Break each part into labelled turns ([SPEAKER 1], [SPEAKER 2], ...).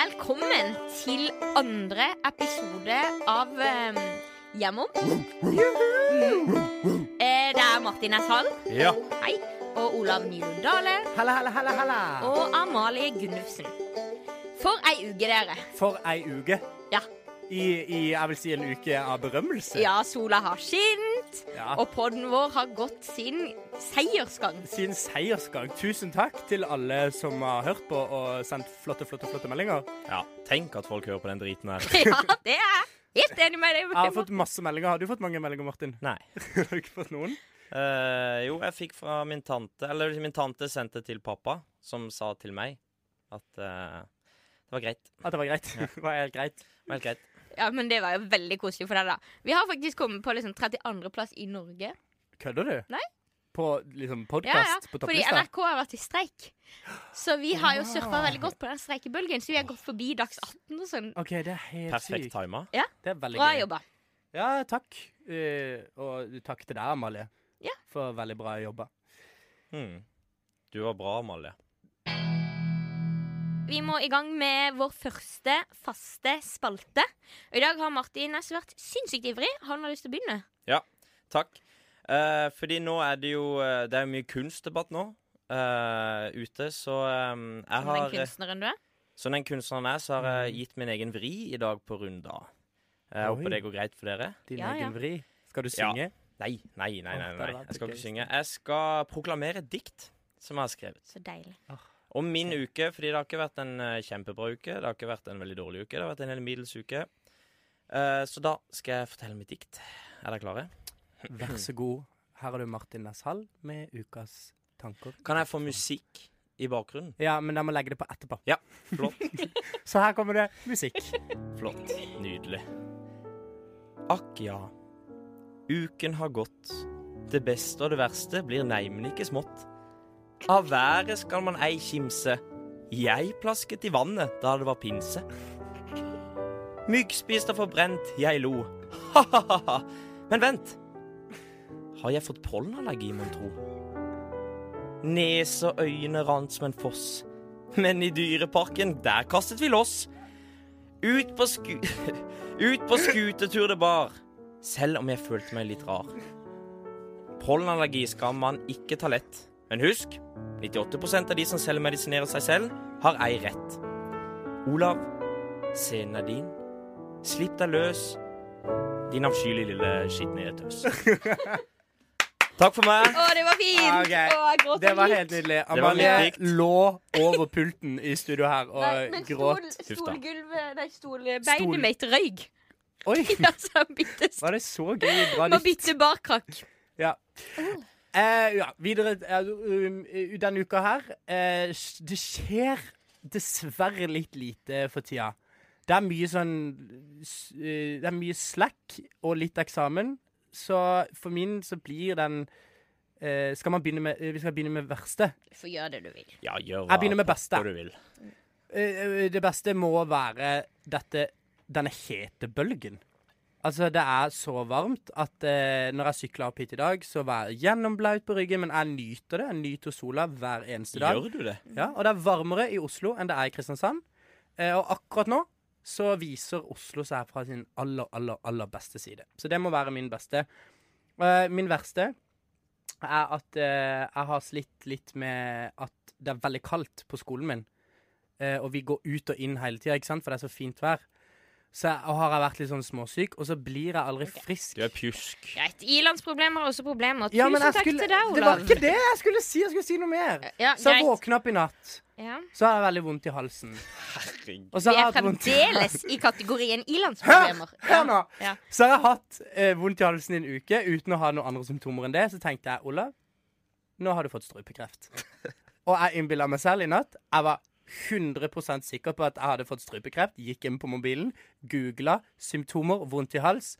[SPEAKER 1] Velkommen til andre episode av um, Hjemom. Mm. Eh, Det er Martin S. Hall
[SPEAKER 2] Ja.
[SPEAKER 1] hei, og Olav Nylund Dale
[SPEAKER 2] Halla, halla, halla, halla.
[SPEAKER 1] og Amalie Gunnufsen. For ei uke, dere.
[SPEAKER 2] For ei uke.
[SPEAKER 1] Ja,
[SPEAKER 2] I, I jeg vil si en uke av berømmelse.
[SPEAKER 1] ja sola har skint,
[SPEAKER 2] Ja.
[SPEAKER 1] og podden vår har gått sin seiersgang.
[SPEAKER 2] Sin seiersgang. Tusen takk til alle som har hørt på og sendt flotte, flotte, flotte meldinger.
[SPEAKER 3] Ja, tenk at folk hører på den driten her.
[SPEAKER 1] Ja, det er jeg helt enig med deg.
[SPEAKER 2] Jeg har fått masse meldinger. Har du fått mange meldinger, Martin?
[SPEAKER 3] Nei.
[SPEAKER 2] Har du ikke fått noen?
[SPEAKER 3] Eh, jo, jeg fikk fra min tante Eller min tante sendte til pappa, som sa til meg at eh, det var greit.
[SPEAKER 2] At det var greit? var helt greit.
[SPEAKER 3] Det var helt greit.
[SPEAKER 1] Ja, men det var jo veldig koselig for deg, da. Vi har faktisk kommet på liksom 32. plass i Norge.
[SPEAKER 2] Kødder du?
[SPEAKER 1] Nei.
[SPEAKER 2] På
[SPEAKER 1] Ja,
[SPEAKER 2] liksom
[SPEAKER 1] ja.
[SPEAKER 2] podkast på
[SPEAKER 1] Fordi
[SPEAKER 2] topplista?
[SPEAKER 1] NRK har vært i streik. Så vi har jo surfa veldig godt på den streikebølgen. Så vi har gått forbi dags 18 og sånn.
[SPEAKER 2] OK, det er helt
[SPEAKER 3] Perfekt
[SPEAKER 2] sykt.
[SPEAKER 3] tima.
[SPEAKER 2] Det er veldig
[SPEAKER 1] Bra
[SPEAKER 2] gøy.
[SPEAKER 1] jobba.
[SPEAKER 2] Ja, takk. Eh, og takk til deg, Amalie,
[SPEAKER 1] Ja.
[SPEAKER 2] for veldig bra jobba.
[SPEAKER 3] Hmm. Du var bra, Amalie.
[SPEAKER 1] Vi må i gang med vår første faste spalte. Og i dag har Martin Næss vært sinnssykt ivrig. Han har lyst til å begynne.
[SPEAKER 3] Takk. Eh, fordi nå er det jo eh, Det er jo mye kunstdebatt nå eh, ute, så eh, jeg
[SPEAKER 1] Som den
[SPEAKER 3] har
[SPEAKER 1] kunstneren du er.
[SPEAKER 3] Som den kunstneren jeg er, så har jeg gitt min egen vri i dag på runda. Jeg
[SPEAKER 2] Mm. Oi.
[SPEAKER 3] håper det går greit for dere.
[SPEAKER 2] Din
[SPEAKER 1] Ja, ja.
[SPEAKER 2] egen vri. Skal du
[SPEAKER 3] Ja.
[SPEAKER 2] synge?
[SPEAKER 3] Nei, nei, nei.
[SPEAKER 2] Åh,
[SPEAKER 3] nei,
[SPEAKER 2] det
[SPEAKER 3] nei.
[SPEAKER 2] hadde vært
[SPEAKER 3] Jeg skal
[SPEAKER 2] gøy
[SPEAKER 3] ikke
[SPEAKER 2] hvis
[SPEAKER 3] synge. Jeg skal proklamere et dikt som jeg har skrevet.
[SPEAKER 1] Så deilig.
[SPEAKER 3] Om min uke, fordi det har ikke vært en eh, kjempebra uke. Det har ikke vært en veldig dårlig uke. Det har vært en helt middels uke. Eh, så da skal jeg fortelle mitt dikt. Er dere klare?
[SPEAKER 2] Vær så god. Her har du Martin Næss Hall med ukas tanker.
[SPEAKER 3] Kan jeg få musikk i bakgrunnen?
[SPEAKER 2] Ja, men jeg må legge det på etterpå.
[SPEAKER 3] Ja, flott.
[SPEAKER 2] Så her kommer det musikk.
[SPEAKER 3] Flott. Nydelig. Akk ja. Uken har gått. Det beste og det verste blir neimen ikke smått. Av været skal man ei kimse. Jeg plasket i vannet da det var pinse. Myggspist og forbrent, jeg lo. Ha-ha-ha. Men vent. Har jeg fått pollenallergi, mon tro? Nese og øyne rant som en foss. Men i dyreparken, der kastet vi loss. Ut på sku... Ut på skutetur det bar. Selv om jeg følte meg litt rar. Pollenallergi skal man ikke ta lett. Men husk, 98 av de som selvmedisinerer seg selv, har ei rett. Olav, scenen er din. Slipp deg løs, din avskyelige lille skitne tøs. Takk for meg.
[SPEAKER 1] Å, det var fint!
[SPEAKER 2] Ah, Ok.
[SPEAKER 1] Å, jeg gråter
[SPEAKER 2] Det var
[SPEAKER 1] litt.
[SPEAKER 2] helt nydelig.
[SPEAKER 3] Det var litt
[SPEAKER 2] Amalie
[SPEAKER 3] likt.
[SPEAKER 2] lå over pulten i studio her og
[SPEAKER 1] Nei, men
[SPEAKER 2] gråt.
[SPEAKER 1] stol,
[SPEAKER 3] Huff da.
[SPEAKER 1] stolgulvet Nei,
[SPEAKER 2] Stol-
[SPEAKER 1] stolbeinet mitt røyk.
[SPEAKER 2] Oi!
[SPEAKER 1] Ja, så han bytte
[SPEAKER 2] Var det så gøy? Bra
[SPEAKER 1] Må
[SPEAKER 2] dikt.
[SPEAKER 1] bytte barkrakk.
[SPEAKER 2] Eh, ja, videre eh, um, eh, denne uka her eh, s- Det skjer dessverre litt lite for tida. Det er mye sånn s- eh, Det er mye slack og litt eksamen. Så for min så blir den eh, Skal man begynne med eh, Vi skal begynne med verste.
[SPEAKER 1] Du får gjøre det du vil.
[SPEAKER 3] Ja, gjør
[SPEAKER 2] Jeg begynner med beste.
[SPEAKER 3] hva du vil.
[SPEAKER 2] Eh, eh, Det beste må være dette, denne hete bølgen. Altså, det er så varmt at eh, når jeg sykler opp hit i dag, så var jeg gjennomblaut på ryggen, men jeg nyter det. Jeg nyter sola hver eneste dag.
[SPEAKER 3] Gjør du det?
[SPEAKER 2] Ja, og det er varmere i Oslo enn det er i Kristiansand. Eh, og akkurat nå så viser Oslo seg fra sin aller, aller, aller beste side. Så det må være min beste. Eh, min verste er at eh, jeg har slitt litt med at det er veldig kaldt på skolen min. Eh, og vi går ut og inn hele tida, ikke sant, for det er så fint vær. Så jeg, og har jeg vært litt sånn småsyk, og så blir jeg aldri frisk.
[SPEAKER 3] Du er pjusk.
[SPEAKER 1] Greit. Ilandsproblemer er også problemer.
[SPEAKER 2] Ja,
[SPEAKER 1] Tusen
[SPEAKER 2] men jeg
[SPEAKER 1] takk
[SPEAKER 2] skulle,
[SPEAKER 1] til deg,
[SPEAKER 2] det var
[SPEAKER 1] Olav.
[SPEAKER 2] ikke det jeg skulle si! Jeg skulle si noe mer.
[SPEAKER 1] Ja,
[SPEAKER 2] Så jeg
[SPEAKER 1] greit.
[SPEAKER 2] våkna opp i natt,
[SPEAKER 1] Ja.
[SPEAKER 2] så har jeg veldig vondt i halsen.
[SPEAKER 3] Herregud.
[SPEAKER 2] Og så
[SPEAKER 1] Vi
[SPEAKER 2] har jeg
[SPEAKER 1] er
[SPEAKER 2] hatt vondt
[SPEAKER 1] fremdeles i kategorien ilandsproblemer.
[SPEAKER 2] Hør nå!
[SPEAKER 1] Ja.
[SPEAKER 2] Så har jeg hatt eh, vondt i halsen i en uke uten å ha noen andre symptomer enn det. Så tenkte jeg, Olav, nå har du fått strupekreft. Og jeg innbilla meg selv i natt. Jeg var 100 sikker på at jeg hadde fått strupekreft. Gikk inn på mobilen, googla symptomer, vondt i hals.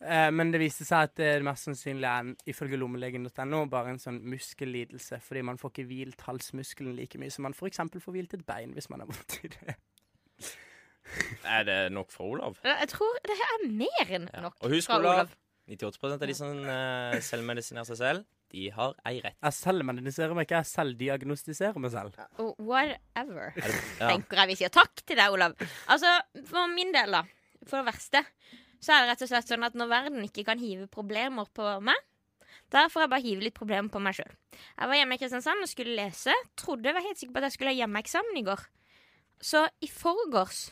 [SPEAKER 2] Eh, men det viste seg at det mest sannsynlig er, en, ifølge lommelegen.no, bare en sånn muskellidelse. Fordi man får ikke hvilt halsmuskelen like mye som man f.eks. får hvilt et bein hvis man har vondt i det.
[SPEAKER 3] Er det nok for Olav?
[SPEAKER 1] Ja, Jeg tror det her er mer enn
[SPEAKER 3] Ja.
[SPEAKER 1] nok.
[SPEAKER 3] Og husk,
[SPEAKER 1] fra
[SPEAKER 3] Olav, 98 av de som eh, selvmedisinerer seg selv, De har ei rett.
[SPEAKER 2] Jeg selv mediserer meg ikke, jeg selv diagnostiserer meg selv.
[SPEAKER 1] Oh, whatever.
[SPEAKER 3] Er det, ja.
[SPEAKER 1] Tenker jeg vi sier takk til deg, Olav. Altså, For min del, da. For det verste. Så er det rett og slett sånn at når verden ikke kan hive problemer på meg, da får jeg bare hive litt problemer på meg sjøl. Jeg var hjemme i Kristiansand og skulle lese. Trodde jeg var helt sikker på at jeg skulle ha hjemmeeksamen i går. Så i forgårs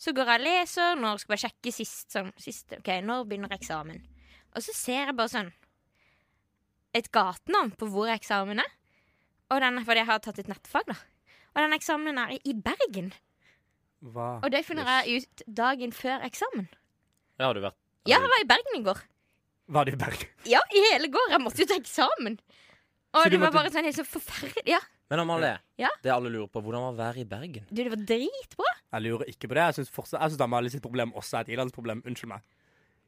[SPEAKER 1] så går jeg og leser, når skal jeg sjekke sist sånn sist, OK, når begynner eksamen? Og så ser jeg bare sånn et gatenavn på hvor eksamen er. Og den er fordi jeg har tatt et nettfag, da. Og den eksamen er i Bergen.
[SPEAKER 2] Hva?
[SPEAKER 1] Og det finner jeg ut dagen før eksamen.
[SPEAKER 3] Det har du vært.
[SPEAKER 1] Ja, jeg var i Bergen i går.
[SPEAKER 2] Var det i Bergen?
[SPEAKER 1] Ja, i hele går. Jeg måtte jo til eksamen. Og
[SPEAKER 2] Så du
[SPEAKER 1] det var
[SPEAKER 2] måtte-
[SPEAKER 1] bare sånn helt så forferdelig. Ja,
[SPEAKER 3] Men Amalie,
[SPEAKER 1] Ja?
[SPEAKER 3] det alle lurer på, hvordan var været i Bergen?
[SPEAKER 1] du, det var dritbra.
[SPEAKER 2] Jeg lurer ikke på det. Jeg syns fortsatt- jeg syns Amalie sitt problem også er et Idans problem. Unnskyld meg.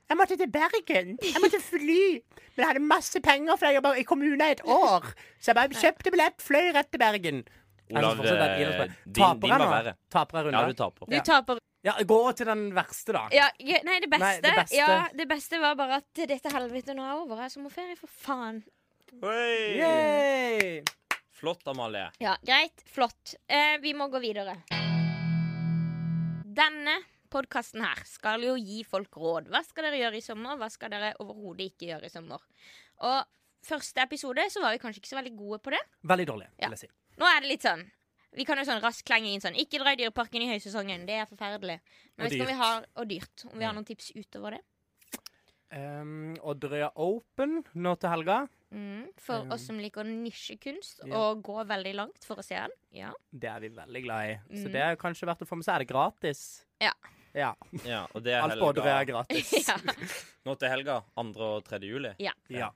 [SPEAKER 2] Jeg måtte til Bergen. Jeg måtte fly. Men jeg hadde masse penger, for jeg jobba i kommunen i et år. Så jeg bare kjøpte billett, fløy rett til Bergen.
[SPEAKER 3] Olav, eh, din- din
[SPEAKER 2] Taper jeg
[SPEAKER 3] var
[SPEAKER 2] nå?
[SPEAKER 3] verre.
[SPEAKER 2] Taper jeg
[SPEAKER 3] Ja, du
[SPEAKER 2] runden?
[SPEAKER 3] taper.
[SPEAKER 1] Du taper
[SPEAKER 2] Ja, gå til den verste, da.
[SPEAKER 1] ja, ja, Nei, det beste,
[SPEAKER 2] Nei, det beste.
[SPEAKER 1] Ja, det beste var bare at dette helvete nå er over. Jeg har sommerferie, for faen.
[SPEAKER 2] Yay!
[SPEAKER 3] Flott, Amalie.
[SPEAKER 1] Ja, greit. Flott. Eh, vi må gå videre. Denne podkasten her skal jo gi folk råd. Hva skal dere gjøre i sommer? Hva skal dere overhodet ikke gjøre i sommer? Og første episode så var vi kanskje ikke så veldig gode på det.
[SPEAKER 2] Veldig dårlig,
[SPEAKER 1] Ja.
[SPEAKER 2] vil jeg si.
[SPEAKER 1] Nå er det litt sånn Vi kan jo sånn raskt klenge inn sånn Ikke dra i dyreparken i høysesongen. Det er forferdelig. Men
[SPEAKER 2] Og
[SPEAKER 1] vet ikke om vi
[SPEAKER 2] dyrt.
[SPEAKER 1] har Og dyrt. Om vi har noen tips utover det.
[SPEAKER 2] Um, Odderøya Open nå til helga.
[SPEAKER 1] Mm, for
[SPEAKER 2] Ja.
[SPEAKER 1] oss som liker nisjekunst,
[SPEAKER 2] Ja.
[SPEAKER 1] og gå veldig langt for å se den. Ja.
[SPEAKER 2] Det er vi veldig glad i. Så
[SPEAKER 1] Mm.
[SPEAKER 2] det er kanskje verdt å få med seg. Er det gratis?
[SPEAKER 1] Ja.
[SPEAKER 2] ja.
[SPEAKER 3] Ja, og det er
[SPEAKER 2] Alt på Odderøya er
[SPEAKER 3] helga.
[SPEAKER 2] gratis.
[SPEAKER 1] ja.
[SPEAKER 3] Nå til helga. 2. og 3. juli.
[SPEAKER 2] ja.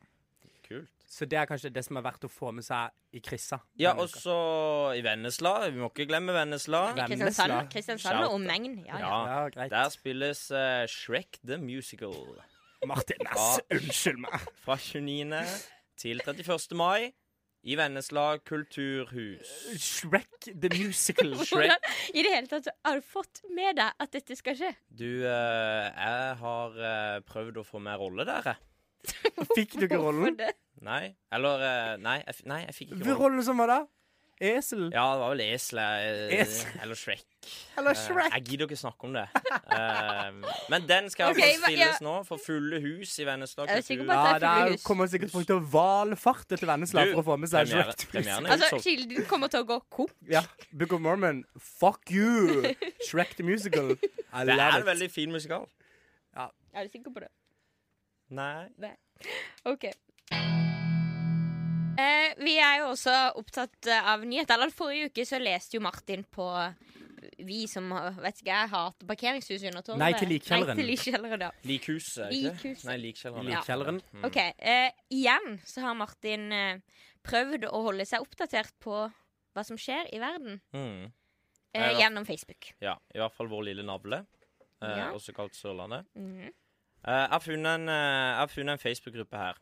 [SPEAKER 3] Kult.
[SPEAKER 2] Så det er kanskje det som er verdt å få med seg i krissa.
[SPEAKER 3] Ja,
[SPEAKER 2] denne
[SPEAKER 3] og
[SPEAKER 2] uka.
[SPEAKER 3] så i Vennesla. Vi må ikke glemme Vennesla.
[SPEAKER 2] Vennesla.
[SPEAKER 1] Kristiansand, Kristiansand
[SPEAKER 3] Shout.
[SPEAKER 1] og omegn. Ja, ja.
[SPEAKER 3] Ja.
[SPEAKER 2] ja, greit.
[SPEAKER 3] Der spilles eh, Shrek the Musical.
[SPEAKER 2] Martin
[SPEAKER 3] Ja.
[SPEAKER 2] S, unnskyld meg.
[SPEAKER 3] Fra 29. til 31. mai i Vennesla kulturhus.
[SPEAKER 2] Shrek the Musical.
[SPEAKER 1] Hvordan i det hele tatt har du fått med deg at dette skal skje?
[SPEAKER 3] Du, eh, jeg har eh, prøvd å få med rolle der, jeg.
[SPEAKER 2] Fikk du ikke rollen?
[SPEAKER 1] Hvorfor det?
[SPEAKER 3] Nei. Eller eh, nei, jeg, f- nei, jeg fikk ikke
[SPEAKER 2] Hvilken
[SPEAKER 3] rolle.
[SPEAKER 2] rolle som var da? Esel?
[SPEAKER 3] Ja, det var vel eselet. eh,
[SPEAKER 2] Esel.
[SPEAKER 3] Eller Shrek.
[SPEAKER 2] Eller
[SPEAKER 3] Eh,
[SPEAKER 2] Shrek?
[SPEAKER 3] Jeg gidder ikke snakke om det. Eh, men den skal
[SPEAKER 1] Ok,
[SPEAKER 3] okay,
[SPEAKER 1] men-
[SPEAKER 3] spilles nå, for fulle hus i Vennesla
[SPEAKER 1] Jeg er sikker på at-
[SPEAKER 2] Ja,
[SPEAKER 3] kultur.
[SPEAKER 1] det er
[SPEAKER 2] der
[SPEAKER 1] fuglehus.
[SPEAKER 2] kommer sikkert folk til å valfarte til Vennesla
[SPEAKER 3] Du,
[SPEAKER 2] for å få med seg
[SPEAKER 3] Premiere-
[SPEAKER 2] Shrek. the Musical.
[SPEAKER 3] Premieren er
[SPEAKER 1] Altså,
[SPEAKER 3] utsolgt.
[SPEAKER 1] Kilden kommer til å gå kom.
[SPEAKER 2] Ja. Book of Mormon, fuck you! Shrek the Musical. I
[SPEAKER 3] Det er
[SPEAKER 2] love
[SPEAKER 3] en
[SPEAKER 2] it.
[SPEAKER 3] veldig fin musikal.
[SPEAKER 1] Er du sikker på det?
[SPEAKER 3] Nei.
[SPEAKER 1] OK. Eh, vi er jo også opptatt eh, av nyheter. Eller forrige uke så leste jo Martin på eh, vi som har- vet ikke, jeg hater parkeringshus under tårnet.
[SPEAKER 2] Nei til likkjelleren.
[SPEAKER 1] Nei til likkjelleren, ja.
[SPEAKER 3] Likhuset, er det ikke?
[SPEAKER 1] Likhuset.
[SPEAKER 3] det? Nei, Likkjelleren.
[SPEAKER 1] Ja.
[SPEAKER 2] Likkjelleren.
[SPEAKER 3] Mm.
[SPEAKER 1] OK. Eh, igjen så har Martin eh, prøvd å holde seg oppdatert på hva som skjer i verden
[SPEAKER 3] Mm.
[SPEAKER 1] eh,
[SPEAKER 3] Ja.
[SPEAKER 1] gjennom Facebook.
[SPEAKER 3] Ja, i hvert fall vår lille navle, eh,
[SPEAKER 1] Ja.
[SPEAKER 3] også kalt Sørlandet.
[SPEAKER 1] Mhm.
[SPEAKER 3] Eh, jeg har funnet en, eh, jeg har funnet en Facebook-gruppe her.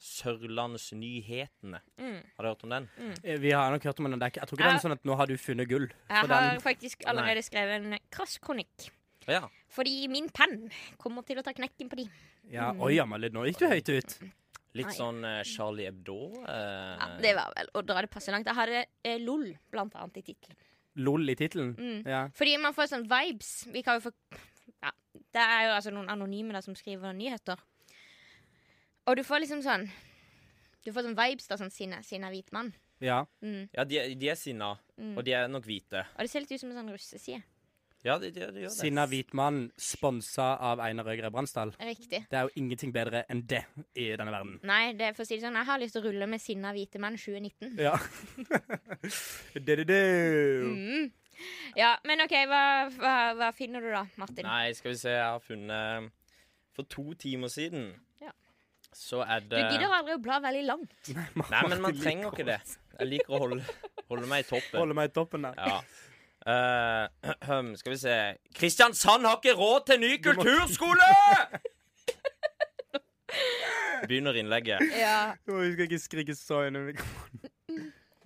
[SPEAKER 3] Sørlandsnyhetene.
[SPEAKER 1] Mm.
[SPEAKER 3] Har du hørt om den?
[SPEAKER 2] Eh, Vi har nok hørt om den. Det er ikke- Jeg tror ikke den
[SPEAKER 1] Ja.
[SPEAKER 2] er sånn at nå har du funnet gull.
[SPEAKER 1] Jeg
[SPEAKER 2] For den-
[SPEAKER 1] har faktisk allerede skrevet en krass kronikk.
[SPEAKER 3] Ja.
[SPEAKER 1] Fordi min penn kommer til å ta knekken på de.
[SPEAKER 2] Ja,
[SPEAKER 1] Mm.
[SPEAKER 2] Oi, Amalie, nå gikk du høyt ut.
[SPEAKER 3] Litt
[SPEAKER 1] Nei.
[SPEAKER 3] sånn eh, Charlie Hebdo. eh,
[SPEAKER 1] Ja, det var vel å dra det passe langt. Jeg hadde eh, LOL blant annet i tittelen.
[SPEAKER 2] LOL i tittelen.
[SPEAKER 1] Mm.
[SPEAKER 2] Ja.
[SPEAKER 1] Fordi man får sånn vibes. Vi kan jo få ja, Det er jo altså noen anonyme der som skriver nyheter. Og du får liksom sånn Du får sånn vibes da, sånn sinne, sinne hvit mann.
[SPEAKER 2] ja.
[SPEAKER 1] Mm.
[SPEAKER 3] ja de, er- de er sinna,
[SPEAKER 1] Mm.
[SPEAKER 3] og de er nok hvite.
[SPEAKER 1] Og det ser litt ut som en sånn russeside.
[SPEAKER 3] Ja, de, de, de gjør det.
[SPEAKER 2] Sinna Hvitmann, sponsa av Einar Øgre Bransdal.
[SPEAKER 1] Riktig.
[SPEAKER 2] Det er jo ingenting bedre enn det i denne verden.
[SPEAKER 1] Nei, det er for å si det sånn, jeg har lyst til å rulle med sinna hvite menn 2019.
[SPEAKER 2] Ja. Du-du-du.
[SPEAKER 1] Mm. Ja, men OK, hva, hva, hva finner du da, Martin?
[SPEAKER 3] Nei, skal vi se, jeg har funnet For to timer siden
[SPEAKER 1] Ja.
[SPEAKER 3] så er det
[SPEAKER 1] Du gidder aldri å bla veldig langt.
[SPEAKER 3] Nei, men man trenger ikke det. Jeg liker å holde, holde meg i toppen.
[SPEAKER 2] Holder meg i toppen der.
[SPEAKER 3] Ja. Eh, skal vi se Kristiansand har ikke råd til ny kulturskole! Begynner innlegget.
[SPEAKER 1] Ja,
[SPEAKER 2] Å, Vi skal ikke skrike så inn i mikrofonen.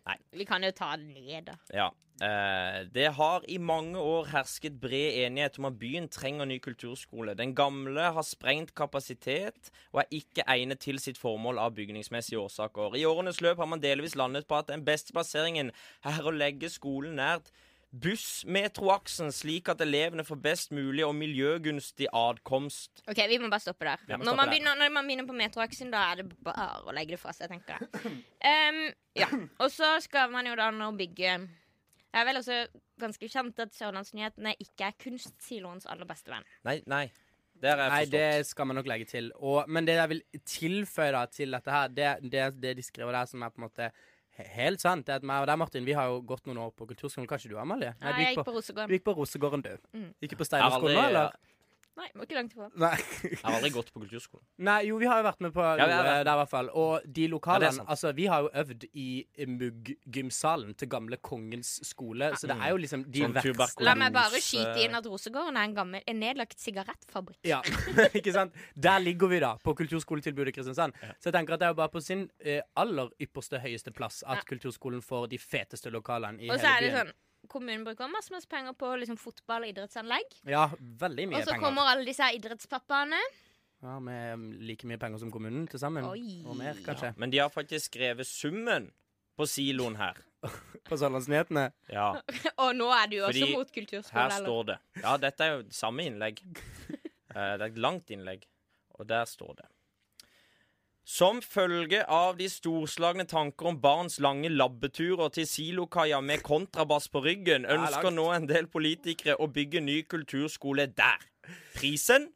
[SPEAKER 3] Nei.
[SPEAKER 1] Vi kan jo ta det ned, da.
[SPEAKER 3] Ja. Eh, det har i mange år hersket bred enighet om at byen trenger ny kulturskole. Den gamle har sprengt kapasitet og er ikke egnet til sitt formål av bygningsmessige årsaker. I årenes løp har man delvis landet på at den beste plasseringen er å legge skolen nært buss-metroaksen, slik at elevene får best mulig og miljøgunstig adkomst.
[SPEAKER 1] Ok, Vi må bare stoppe der.
[SPEAKER 3] Vi
[SPEAKER 1] når,
[SPEAKER 3] må stoppe
[SPEAKER 1] man
[SPEAKER 3] der.
[SPEAKER 1] begynner, når man begynner på metroaksen, da er det bare å legge det fra seg, tenker jeg. Ehm, ja. Og så skal man jo da nå bygge Det er vel også ganske kjent at Sørlandsnyhetene ikke er kunstsiloens aller beste venn.
[SPEAKER 3] Nei, nei. Det har jeg
[SPEAKER 2] Nei,
[SPEAKER 3] forstått.
[SPEAKER 2] det skal man nok legge til. Og, men det jeg vil tilføye da, til dette her, det, det, det de skriver der som er på en måte he- helt sant, det er at meg og deg, Martin, vi har jo gått noen år på kulturskolen. Kanskje du, Amalie?
[SPEAKER 1] Nei,
[SPEAKER 2] du
[SPEAKER 1] jeg gikk
[SPEAKER 2] gikk på,
[SPEAKER 1] på Rosegården.
[SPEAKER 2] du gikk på Rosegården, du.
[SPEAKER 1] Mm.
[SPEAKER 2] Gikk du på
[SPEAKER 3] Jeg har aldri-
[SPEAKER 2] Steinerskolen nå, eller?
[SPEAKER 1] Nei, må ikke langt ifra.
[SPEAKER 2] Nei.
[SPEAKER 3] Jeg har aldri gått på kulturskolen.
[SPEAKER 2] Nei, jo, vi har jo vært med på
[SPEAKER 3] vi har
[SPEAKER 2] noe
[SPEAKER 3] vært-
[SPEAKER 2] der, i hvert fall. Og de
[SPEAKER 3] Ja, det er
[SPEAKER 2] lokalene
[SPEAKER 3] sant.
[SPEAKER 2] Altså, vi har jo øvd i Mugg-gymsalen til gamle Kongens skole, så det er jo liksom de
[SPEAKER 3] Sånn
[SPEAKER 2] verste
[SPEAKER 3] tuberkulose-
[SPEAKER 1] La meg bare skyte inn at Rosegården er en gammel, en nedlagt sigarettfabrikk.
[SPEAKER 2] Ja, ikke sant? Der ligger vi, da, på kulturskoletilbudet i Kristiansand. Så jeg tenker at det er jo bare på sin eh, aller ypperste høyeste plass at
[SPEAKER 1] Ja.
[SPEAKER 2] kulturskolen får de feteste lokalene i
[SPEAKER 1] Og så
[SPEAKER 2] hele
[SPEAKER 1] er det
[SPEAKER 2] byen.
[SPEAKER 1] sånn Kommunen bruker masse masse penger på liksom, fotball og idrettsanlegg.
[SPEAKER 2] Ja, veldig
[SPEAKER 1] sånn. Og
[SPEAKER 2] mye
[SPEAKER 1] så
[SPEAKER 2] penger.
[SPEAKER 1] kommer alle disse her idrettspappaene.
[SPEAKER 2] Ja, Med um, like mye penger som kommunen til sammen.
[SPEAKER 1] Oi.
[SPEAKER 2] Og mer, kanskje.
[SPEAKER 3] Men de har faktisk skrevet summen på siloen her.
[SPEAKER 2] På Sørlandsnyhetene.
[SPEAKER 3] Ja.
[SPEAKER 1] Og nå er du jo også
[SPEAKER 3] Fordi
[SPEAKER 1] mot kulturskole.
[SPEAKER 3] Her
[SPEAKER 1] eller?
[SPEAKER 3] står det. Ja, dette er jo samme innlegg. Eh, Det er et langt innlegg, og der står det. Som følge av de storslagne tanker om barns lange labbeturer til silokaia med kontrabass på ryggen, ønsker
[SPEAKER 2] langt.
[SPEAKER 3] nå en del politikere å bygge ny kulturskole der. Prisen?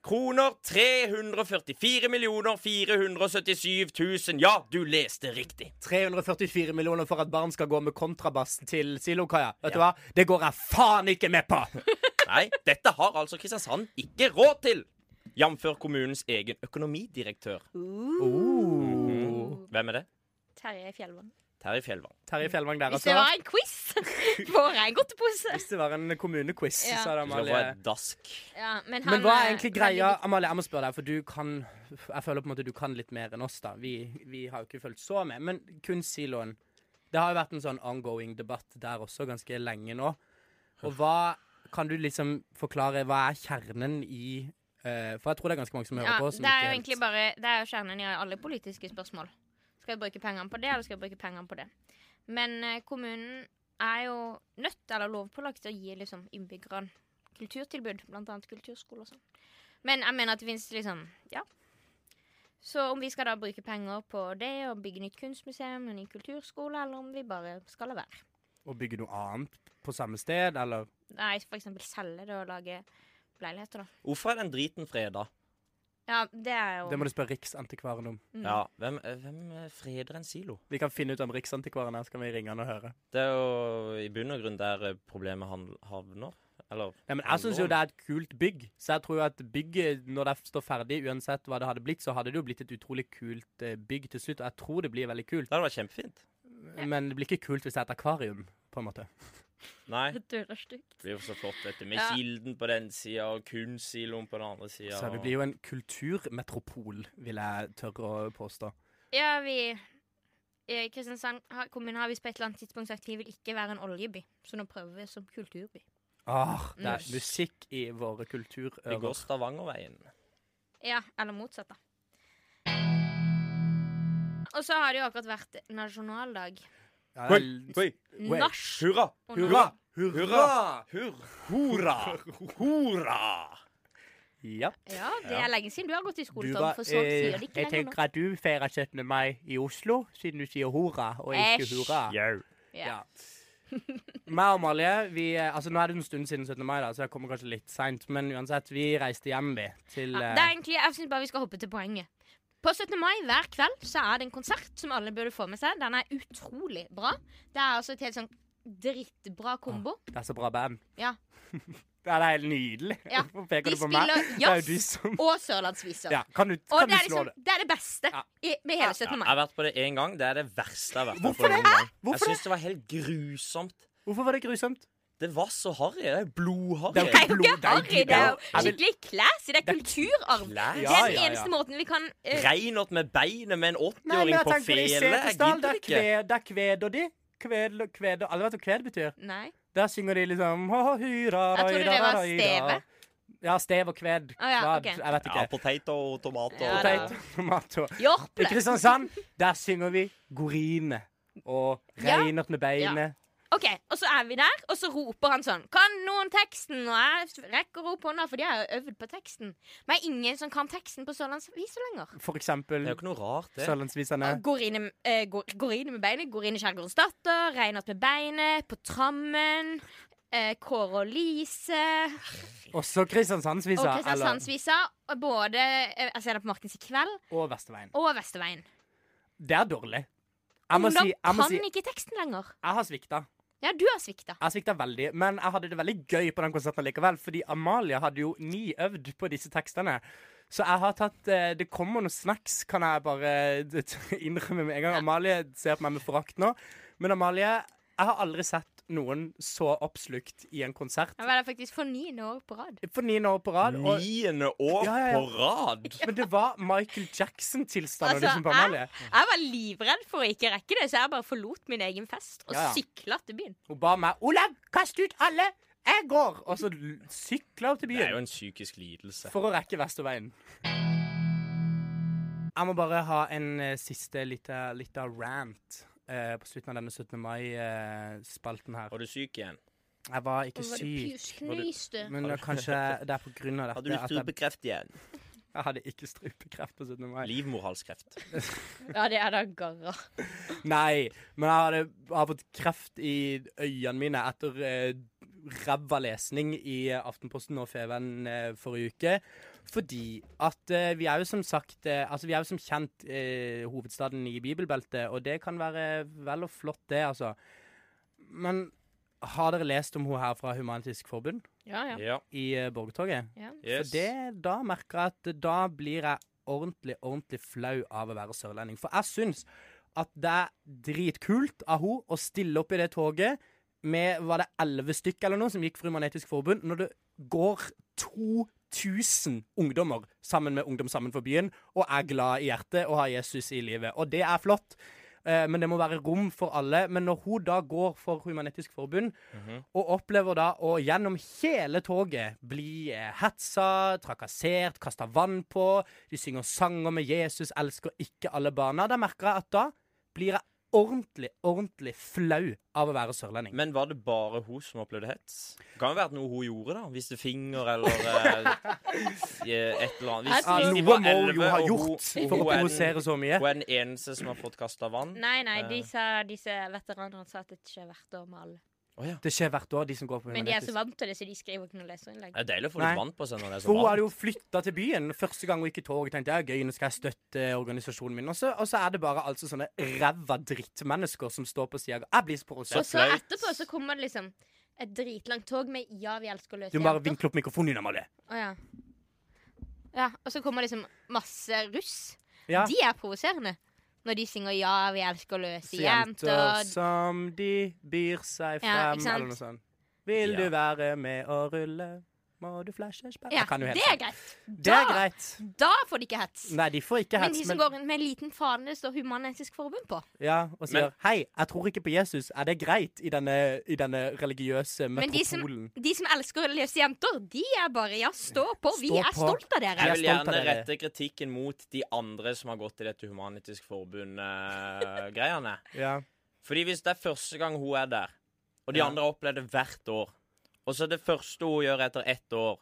[SPEAKER 3] Kroner 344 477 000. Ja, du leste riktig.
[SPEAKER 2] 344 millioner for at barn skal gå med kontrabass til silokaia. Vet du hva? Det går jeg faen ikke med på!
[SPEAKER 3] Nei, dette har altså Kristiansand ikke råd til. Jf. kommunens egen økonomidirektør.
[SPEAKER 2] Oh.
[SPEAKER 3] Hvem er det?
[SPEAKER 1] Terje Fjellvang.
[SPEAKER 3] Terje Fjellvang.
[SPEAKER 2] Terje Fjellvang der,
[SPEAKER 1] Hvis det
[SPEAKER 2] altså.
[SPEAKER 1] var en quiz, får jeg en godtepose.
[SPEAKER 2] Hvis det var en kommunequiz,
[SPEAKER 1] Ja.
[SPEAKER 2] sa det
[SPEAKER 3] Du skal få
[SPEAKER 2] Amalie.
[SPEAKER 3] et dask.
[SPEAKER 1] Ja, men, han
[SPEAKER 2] Men hva er
[SPEAKER 1] eh,
[SPEAKER 2] egentlig
[SPEAKER 1] veldig
[SPEAKER 2] greia
[SPEAKER 1] god.
[SPEAKER 2] Amalie, jeg må spørre deg, for du kan Jeg føler på en måte du kan litt mer enn oss, da. Vi, vi har jo ikke fulgt så med. Men kunstsiloen Det har jo vært en sånn ongoing debatt der også ganske lenge nå. Og hva Kan du liksom forklare Hva er kjernen i eh, For jeg tror det er ganske mange som hører
[SPEAKER 1] Ja,
[SPEAKER 2] på. Som
[SPEAKER 1] det er
[SPEAKER 2] ikke
[SPEAKER 1] jo
[SPEAKER 2] helt-
[SPEAKER 1] egentlig bare Det er jo kjernen i alle politiske spørsmål. Skal vi bruke pengene på det, eller skal vi bruke pengene på det? Men eh, kommunen er jo nødt, eller lovpålagt, til å gi liksom, innbyggerne kulturtilbud. Blant annet kulturskole og sånn. Men jeg mener at det fins liksom Ja. Så om vi skal da bruke penger på det, og bygge nytt kunstmuseum og ny kulturskole, eller om vi bare skal la være.
[SPEAKER 2] Å bygge noe annet på samme sted, eller
[SPEAKER 1] Nei, for eksempel selge det og lage leiligheter, da.
[SPEAKER 3] Hvorfor er den driten freda?
[SPEAKER 1] Ja, det er jo
[SPEAKER 2] Det må du spørre Riksantikvaren om.
[SPEAKER 1] Mm.
[SPEAKER 3] Ja, hvem, eh, hvem eh, freder en silo?
[SPEAKER 2] Vi kan finne ut om Riksantikvaren er, så kan vi ringe han og høre.
[SPEAKER 3] Det er jo i bunn og grunn der eh, problemet handl- havner. Eller
[SPEAKER 2] Nei, men Jeg syns jo det er et kult bygg, så jeg tror jo at bygget, når det står ferdig, uansett hva det hadde blitt, så hadde det jo blitt et utrolig kult eh, bygg til slutt, og jeg tror det blir veldig kult.
[SPEAKER 3] Det hadde vært kjempefint.
[SPEAKER 2] Men det blir ikke kult hvis det er et akvarium, på en måte.
[SPEAKER 3] Nei.
[SPEAKER 1] Det dører stygt.
[SPEAKER 3] Det blir jo så flott, dette. Med
[SPEAKER 1] Ja.
[SPEAKER 3] Kilden på den sida og kunstsiloen på den andre sida.
[SPEAKER 2] Så vi blir jo en kulturmetropol, vil jeg tørre å påstå.
[SPEAKER 1] Ja, vi i Kristiansand har- kommune har visst på et eller annet tidspunkt sagt vi vil ikke være en oljeby, så nå prøver vi som kulturby.
[SPEAKER 2] Åh, Ah, det er
[SPEAKER 3] Mm.
[SPEAKER 2] musikk i våre
[SPEAKER 3] Vi går
[SPEAKER 2] kulturører.
[SPEAKER 3] Stavangerveien.
[SPEAKER 1] Ja, eller motsatt, da. Og så har det jo akkurat vært nasjonaldag.
[SPEAKER 2] Ja, det
[SPEAKER 3] Oi,
[SPEAKER 2] er-
[SPEAKER 3] oi,
[SPEAKER 2] Wait.
[SPEAKER 1] Nach
[SPEAKER 3] Hurra!
[SPEAKER 1] og
[SPEAKER 3] Hurra!
[SPEAKER 2] Hurra!
[SPEAKER 3] Hurra! Hurra! Hurra!
[SPEAKER 2] Ja.
[SPEAKER 1] Ja, det er lenge siden du har gått i skole,
[SPEAKER 2] Du
[SPEAKER 1] Tom,
[SPEAKER 2] var,
[SPEAKER 1] for sånn
[SPEAKER 2] eh,
[SPEAKER 1] sier de ikke
[SPEAKER 2] jeg
[SPEAKER 1] lenger nå.
[SPEAKER 2] tenker at du feirer 17. mai i Oslo, siden du sier hurra og ikke
[SPEAKER 1] Æsj.
[SPEAKER 2] hurra.
[SPEAKER 3] Jau.
[SPEAKER 1] Ja.
[SPEAKER 2] Meg og Malje, vi, altså nå er det en stund siden 17. mai, da, så jeg kommer kanskje litt seint. Men uansett, vi reiste hjem, vi. Til
[SPEAKER 1] Ja,
[SPEAKER 2] eh,
[SPEAKER 1] det er egentlig, jeg synes bare vi skal hoppe til poenget. På 17. mai hver kveld så er det en konsert som alle burde få med seg. Den er utrolig bra. Det er altså et helt sånn drittbra kombo.
[SPEAKER 2] det er så bra band.
[SPEAKER 1] Ja.
[SPEAKER 2] det er helt nydelig.
[SPEAKER 1] Ja.
[SPEAKER 2] Hvorfor peker
[SPEAKER 1] De
[SPEAKER 2] du på meg?
[SPEAKER 1] spiller
[SPEAKER 2] Det er jo
[SPEAKER 1] jazz.
[SPEAKER 2] de som
[SPEAKER 1] Og sørlandsviser.
[SPEAKER 2] Ja, kan du,
[SPEAKER 1] Og
[SPEAKER 2] kan
[SPEAKER 1] det
[SPEAKER 2] du
[SPEAKER 1] er,
[SPEAKER 2] slå
[SPEAKER 1] liksom,
[SPEAKER 2] det?
[SPEAKER 1] det er det beste
[SPEAKER 2] Ja.
[SPEAKER 1] i, med hele
[SPEAKER 3] Ja,
[SPEAKER 1] 17.
[SPEAKER 3] jeg
[SPEAKER 1] mai.
[SPEAKER 3] har vært på det én gang. Det er det verste jeg har vært
[SPEAKER 2] Hvorfor
[SPEAKER 3] på.
[SPEAKER 2] det?
[SPEAKER 3] noen gang.
[SPEAKER 2] Hvorfor
[SPEAKER 3] jeg syns det var helt grusomt.
[SPEAKER 2] Hvorfor var det grusomt?
[SPEAKER 3] Det var så harry. Det er blodharry.
[SPEAKER 2] Det
[SPEAKER 1] Det er jo
[SPEAKER 2] Blod,
[SPEAKER 1] ikke
[SPEAKER 2] det er
[SPEAKER 1] harry, det er
[SPEAKER 2] blod.
[SPEAKER 1] jo skikkelig classy. Det er kulturarv.
[SPEAKER 3] Klær.
[SPEAKER 1] Det
[SPEAKER 2] Ja,
[SPEAKER 1] er den
[SPEAKER 2] ja, ja.
[SPEAKER 1] eneste måten vi kan eh,
[SPEAKER 3] Reinert med beinet med
[SPEAKER 2] Nei,
[SPEAKER 3] en
[SPEAKER 2] men
[SPEAKER 3] 80-åring
[SPEAKER 2] jeg
[SPEAKER 3] på
[SPEAKER 2] tenker på det i
[SPEAKER 3] fele. Jeg
[SPEAKER 2] Setesdal.
[SPEAKER 3] gidder
[SPEAKER 2] Der
[SPEAKER 3] ikke.
[SPEAKER 2] kved, der kveder de. Kved, kved, alle vet hva kved betyr?
[SPEAKER 1] Nei.
[SPEAKER 2] Der synger de liksom «Hå, hå, hyra,
[SPEAKER 1] Jeg trodde
[SPEAKER 2] raida,
[SPEAKER 1] det var
[SPEAKER 2] raida».
[SPEAKER 1] steve.
[SPEAKER 2] Ja, stev og kved.
[SPEAKER 1] Å, ja,
[SPEAKER 2] Kvad.
[SPEAKER 1] ok.
[SPEAKER 2] Jeg vet
[SPEAKER 3] Ja,
[SPEAKER 2] ikke.
[SPEAKER 3] potet og tomat og
[SPEAKER 1] Ja, da.
[SPEAKER 2] Potet, tomat og I
[SPEAKER 1] Jorple.
[SPEAKER 2] Kristiansand, sånn der synger vi Gorine og
[SPEAKER 1] Ja.
[SPEAKER 2] Reinert med beinet.
[SPEAKER 1] OK, og så er vi der, og så roper han sånn Kan noen teksten? Og jeg rekker opp hånda, for de har jo øvd på teksten. Men det er ingen som kan teksten på sørlandsvisa lenger.
[SPEAKER 2] For
[SPEAKER 3] Det
[SPEAKER 2] eksempel
[SPEAKER 3] er jo ikke noe rart, det.
[SPEAKER 2] Sørlandsvisene.
[SPEAKER 1] Går inn, i- eh, går, går inn med beinet. Går inn i Skjærgårdens datter. Reinert med beinet. På trammen. Eh, Kåre og Lise.
[SPEAKER 2] Også Kristiansandsvisa.
[SPEAKER 1] Og
[SPEAKER 2] eller-
[SPEAKER 1] Kristiansandsvisa. og Både eh, Jeg ser det på Markens i kveld
[SPEAKER 2] og Vesterveien.
[SPEAKER 1] og Vesterveien.
[SPEAKER 2] Det er dårlig. Jeg må
[SPEAKER 1] Ungdom
[SPEAKER 2] si, jeg, må
[SPEAKER 1] kan
[SPEAKER 2] si,
[SPEAKER 1] ikke teksten lenger.
[SPEAKER 2] jeg har svikta.
[SPEAKER 1] Ja, du har svikta.
[SPEAKER 2] Jeg svikta veldig, men jeg hadde det veldig gøy på den konserten likevel, fordi Amalie hadde jo ni øvd på disse tekstene. Så jeg har tatt eh, Det kommer noen snacks, kan jeg bare eh, innrømme med en gang. Amalie ser på meg med forakt nå. Men Amalie, jeg har aldri sett noen så oppslukt i en konsert.
[SPEAKER 1] Jeg var der faktisk for niende år på rad.
[SPEAKER 2] For niende år på rad. Og,
[SPEAKER 3] Niende år
[SPEAKER 2] Ja, ja, ja.
[SPEAKER 3] på rad.
[SPEAKER 2] men det var Michael Jackson-tilstander
[SPEAKER 1] Altså,
[SPEAKER 2] liksom på Amalie.
[SPEAKER 1] Jeg var livredd for å ikke rekke det, så jeg bare forlot min egen fest og
[SPEAKER 2] Ja, ja.
[SPEAKER 1] sykla til byen.
[SPEAKER 2] Hun ba meg 'Olav, kast ut alle! Jeg går!' Og så l- sykla hun til
[SPEAKER 3] Det er jo
[SPEAKER 2] byen
[SPEAKER 3] en psykisk lidelse.
[SPEAKER 2] for å rekke Vesterveien. Jeg må bare ha en eh, siste lita, lita rant eh, på slutten av denne 17. mai-spalten her.
[SPEAKER 3] Var du syk igjen?
[SPEAKER 2] Jeg var ikke syk, men det er kanskje det er på grunn av
[SPEAKER 3] Hadde du
[SPEAKER 2] dette at jeg,
[SPEAKER 3] strupekreft igjen?
[SPEAKER 2] jeg hadde ikke strupekreft på 17. mai.
[SPEAKER 3] Livmorhalskreft.
[SPEAKER 1] Ja, det er da garra.
[SPEAKER 2] Nei, men jeg hadde, jeg har fått kreft i øynene mine etter eh, ræva lesning i eh, Aftenposten og Feven eh, forrige uke. Fordi at eh, vi er jo som sagt eh, Altså, vi er jo som kjent eh, hovedstaden i bibelbeltet, og det kan være vel og flott, det, altså. Men har dere lest om hun her fra Humanitisk Forbund
[SPEAKER 1] Ja, ja.
[SPEAKER 3] Ja.
[SPEAKER 2] i eh, borgertoget?
[SPEAKER 1] ja.
[SPEAKER 3] Yes.
[SPEAKER 2] For det, da merker jeg at da blir jeg ordentlig, ordentlig flau av å være sørlending. For jeg syns at det er dritkult av hun å stille opp i det toget med var det elleve stykk eller noe som gikk for Human-Etisk Forbund, når det går 2000 ungdommer sammen med Ungdom sammen for byen og er glad i hjertet og har Jesus i livet. Og det er flott. eh, Men det må være rom for alle. Men når hun da går for Human-Etisk Forbund, og opplever da å gjennom hele toget bli eh, hetsa, trakassert, kasta vann på. De synger sanger med 'Jesus elsker ikke alle barna'. Da merker jeg at da blir jeg ordentlig, ordentlig flau av å være sørlending.
[SPEAKER 3] Men var det bare hun som opplevde hets? Det kan jo være at noe hun gjorde, da. Viste finger eller eh, eh, et eller annet.
[SPEAKER 1] Jeg
[SPEAKER 3] Hvis,
[SPEAKER 1] tror-
[SPEAKER 3] hvis
[SPEAKER 2] Ja,
[SPEAKER 3] de
[SPEAKER 2] noe
[SPEAKER 3] var
[SPEAKER 2] må hun jo
[SPEAKER 3] elleve,
[SPEAKER 2] ha
[SPEAKER 3] og
[SPEAKER 2] gjort
[SPEAKER 3] hun,
[SPEAKER 2] for å
[SPEAKER 3] hun, er
[SPEAKER 2] provosere
[SPEAKER 3] den,
[SPEAKER 2] så mye.
[SPEAKER 3] hun er den eneste som har fått kasta vann. Å
[SPEAKER 1] Nei, nei, disse, disse veteranene sa at det ikke er verdt å male.
[SPEAKER 3] ja.
[SPEAKER 2] Det skjer hvert år, de som går på
[SPEAKER 1] Men de er så
[SPEAKER 2] humanitisk.
[SPEAKER 1] vant til det, så de skriver ikke noe leserinnlegg.
[SPEAKER 3] Det er deilig å få
[SPEAKER 2] Nei.
[SPEAKER 3] litt vann på seg når det er så
[SPEAKER 2] For hun hadde
[SPEAKER 3] varmt.
[SPEAKER 2] jo flytta til byen første gang hun gikk i toget. Tenkte jeg, gøy, nå skal jeg støtte organisasjonen min. Og så, og så er det bare altså sånne ræva drittmennesker som står på sida. Jeg blir så
[SPEAKER 1] Og
[SPEAKER 2] provosert.
[SPEAKER 1] så
[SPEAKER 3] flaut.
[SPEAKER 1] etterpå så kommer det liksom et dritlangt tog med 'Ja, vi elsker løse
[SPEAKER 2] Du må bare
[SPEAKER 1] jenter'.
[SPEAKER 2] vinkle opp mikrofonen din, Amalie.
[SPEAKER 1] Å, ja. ja, og så kommer liksom masse russ.
[SPEAKER 2] Ja.
[SPEAKER 1] De er provoserende. Når de synger 'Ja, vi elsker løse
[SPEAKER 2] Så jenter
[SPEAKER 1] jenter'.
[SPEAKER 2] som de byr seg frem,
[SPEAKER 1] øh, Ja, ikke sant?
[SPEAKER 2] eller noe sånt. Vil
[SPEAKER 3] Ja.
[SPEAKER 2] du være med å rulle, må du flashe spenn
[SPEAKER 1] Ja,
[SPEAKER 2] Jeg kan jo helt
[SPEAKER 1] det er
[SPEAKER 2] sant.
[SPEAKER 1] greit.
[SPEAKER 2] Det er
[SPEAKER 1] Da-
[SPEAKER 2] greit.
[SPEAKER 1] Da får de ikke hets.
[SPEAKER 2] Nei, de får ikke
[SPEAKER 1] Men
[SPEAKER 2] hets,
[SPEAKER 1] de som
[SPEAKER 2] men,
[SPEAKER 1] går rundt med en liten fane det står Human-Etisk Forbund på.
[SPEAKER 2] ja, og sier
[SPEAKER 3] Men-
[SPEAKER 2] 'Hei, jeg tror ikke på Jesus'. Er det greit i denne, i denne religiøse
[SPEAKER 1] Men de som,
[SPEAKER 2] metropolen?
[SPEAKER 1] de som elsker løse jenter, de er bare Ja, stå på! Vi
[SPEAKER 2] Stå
[SPEAKER 1] er
[SPEAKER 2] på.
[SPEAKER 1] stolt av dere!
[SPEAKER 2] Jeg
[SPEAKER 3] Jeg
[SPEAKER 2] er
[SPEAKER 3] vil
[SPEAKER 2] stolt av
[SPEAKER 3] gjerne
[SPEAKER 2] dere.
[SPEAKER 3] rette kritikken mot de andre som har gått i dette Humanitisk eh, Forbund-greiene.
[SPEAKER 2] Ja.
[SPEAKER 3] Fordi hvis det er første gang hun er der, og de
[SPEAKER 2] Ja.
[SPEAKER 3] andre har opplevd det hvert år, og så det første hun gjør etter ett år,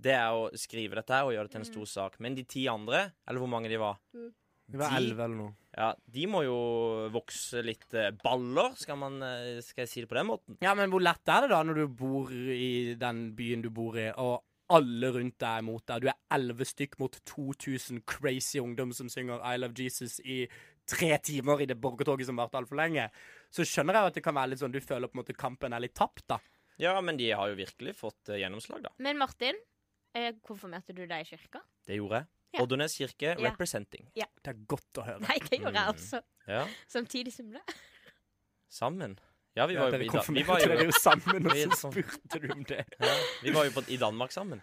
[SPEAKER 3] det er å skrive dette her og gjøre det til en stor sak. Men de ti andre, eller hvor mange de var,
[SPEAKER 2] Vi var
[SPEAKER 3] De-
[SPEAKER 2] elleve eller noe.
[SPEAKER 3] ja, de må jo vokse litt eh, baller, skal, man, eh, skal jeg si det på den måten.
[SPEAKER 2] Ja, men hvor lett er det da når du bor i den byen du bor i, og alle rundt deg er mot deg? Du er elleve stykk mot 2000 crazy ungdom som synger I Love Jesus i tre timer i det borgertoget som varte altfor lenge. Så skjønner jeg jo at det kan være litt sånn du føler på en måte kampen er litt tapt, da.
[SPEAKER 3] Ja, men de har jo virkelig fått eh, gjennomslag, da.
[SPEAKER 1] Men Martin, eh, konfirmerte du deg i kirka?
[SPEAKER 3] Det gjorde jeg.
[SPEAKER 1] Ja.
[SPEAKER 3] Oddernes kirke
[SPEAKER 1] Ja.
[SPEAKER 3] representing.
[SPEAKER 2] Det er godt å høre.
[SPEAKER 1] Nei, det gjorde jeg altså,
[SPEAKER 3] Mm.
[SPEAKER 1] også.
[SPEAKER 3] Ja,
[SPEAKER 1] Samtidig som det.
[SPEAKER 3] sammen. Ja, vi var jo,
[SPEAKER 2] dere
[SPEAKER 3] i, da vi var
[SPEAKER 2] konfirmerte
[SPEAKER 3] jo,
[SPEAKER 2] dere jo sammen, og
[SPEAKER 3] Vi er
[SPEAKER 2] så
[SPEAKER 3] sånn-
[SPEAKER 2] spurte du om det.
[SPEAKER 3] ja, vi var jo på, i Danmark sammen.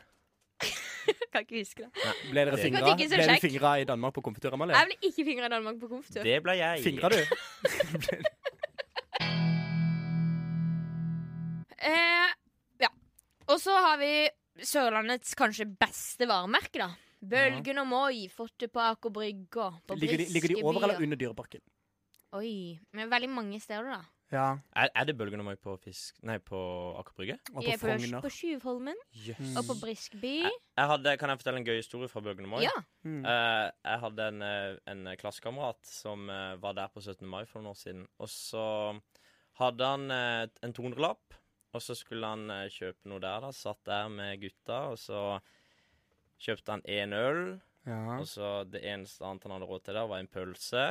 [SPEAKER 1] Kan ikke huske det.
[SPEAKER 2] Ble dere
[SPEAKER 3] Det-
[SPEAKER 2] fingra,
[SPEAKER 1] Men ikke så
[SPEAKER 2] ble dere
[SPEAKER 1] kjekk.
[SPEAKER 2] fingra i Danmark på konfitør, Amalie?
[SPEAKER 1] Jeg ble ikke fingra i Danmark på konfitør.
[SPEAKER 3] Det ble jeg.
[SPEAKER 2] Fingra du?
[SPEAKER 1] Eh, ja. Og så har vi Sørlandets kanskje beste varemerke, da. Bølgen og Moi, fått det på Aker Brygge og på
[SPEAKER 2] Ligger de, ligger de over
[SPEAKER 1] Briskeby
[SPEAKER 2] eller
[SPEAKER 1] og-
[SPEAKER 2] under Dyreparken?
[SPEAKER 1] Oi. Men veldig mange steder, da.
[SPEAKER 2] Ja.
[SPEAKER 3] Er, er det bølgen og meg på fisk... Nei, på Aker Brygge?
[SPEAKER 2] Og
[SPEAKER 1] Jeg
[SPEAKER 2] på
[SPEAKER 1] er
[SPEAKER 2] Frogner.
[SPEAKER 1] På Sjuvholmen
[SPEAKER 3] Jøss.
[SPEAKER 2] Mm.
[SPEAKER 1] og på Briskeby.
[SPEAKER 3] Jeg hadde, kan jeg fortelle en gøy historie fra Bølgen og Moi?
[SPEAKER 1] Ja.
[SPEAKER 2] Mm.
[SPEAKER 3] Eh, jeg hadde en, eh, en klassekamerat som eh, var der på 17. mai for noen år siden. Og så hadde han eh, en 200-lapp, og så skulle han eh, kjøpe noe der. da Satt der med gutta, og så kjøpte han én øl.
[SPEAKER 2] Ja.
[SPEAKER 3] Og så det eneste annet han hadde råd til der, var en pølse.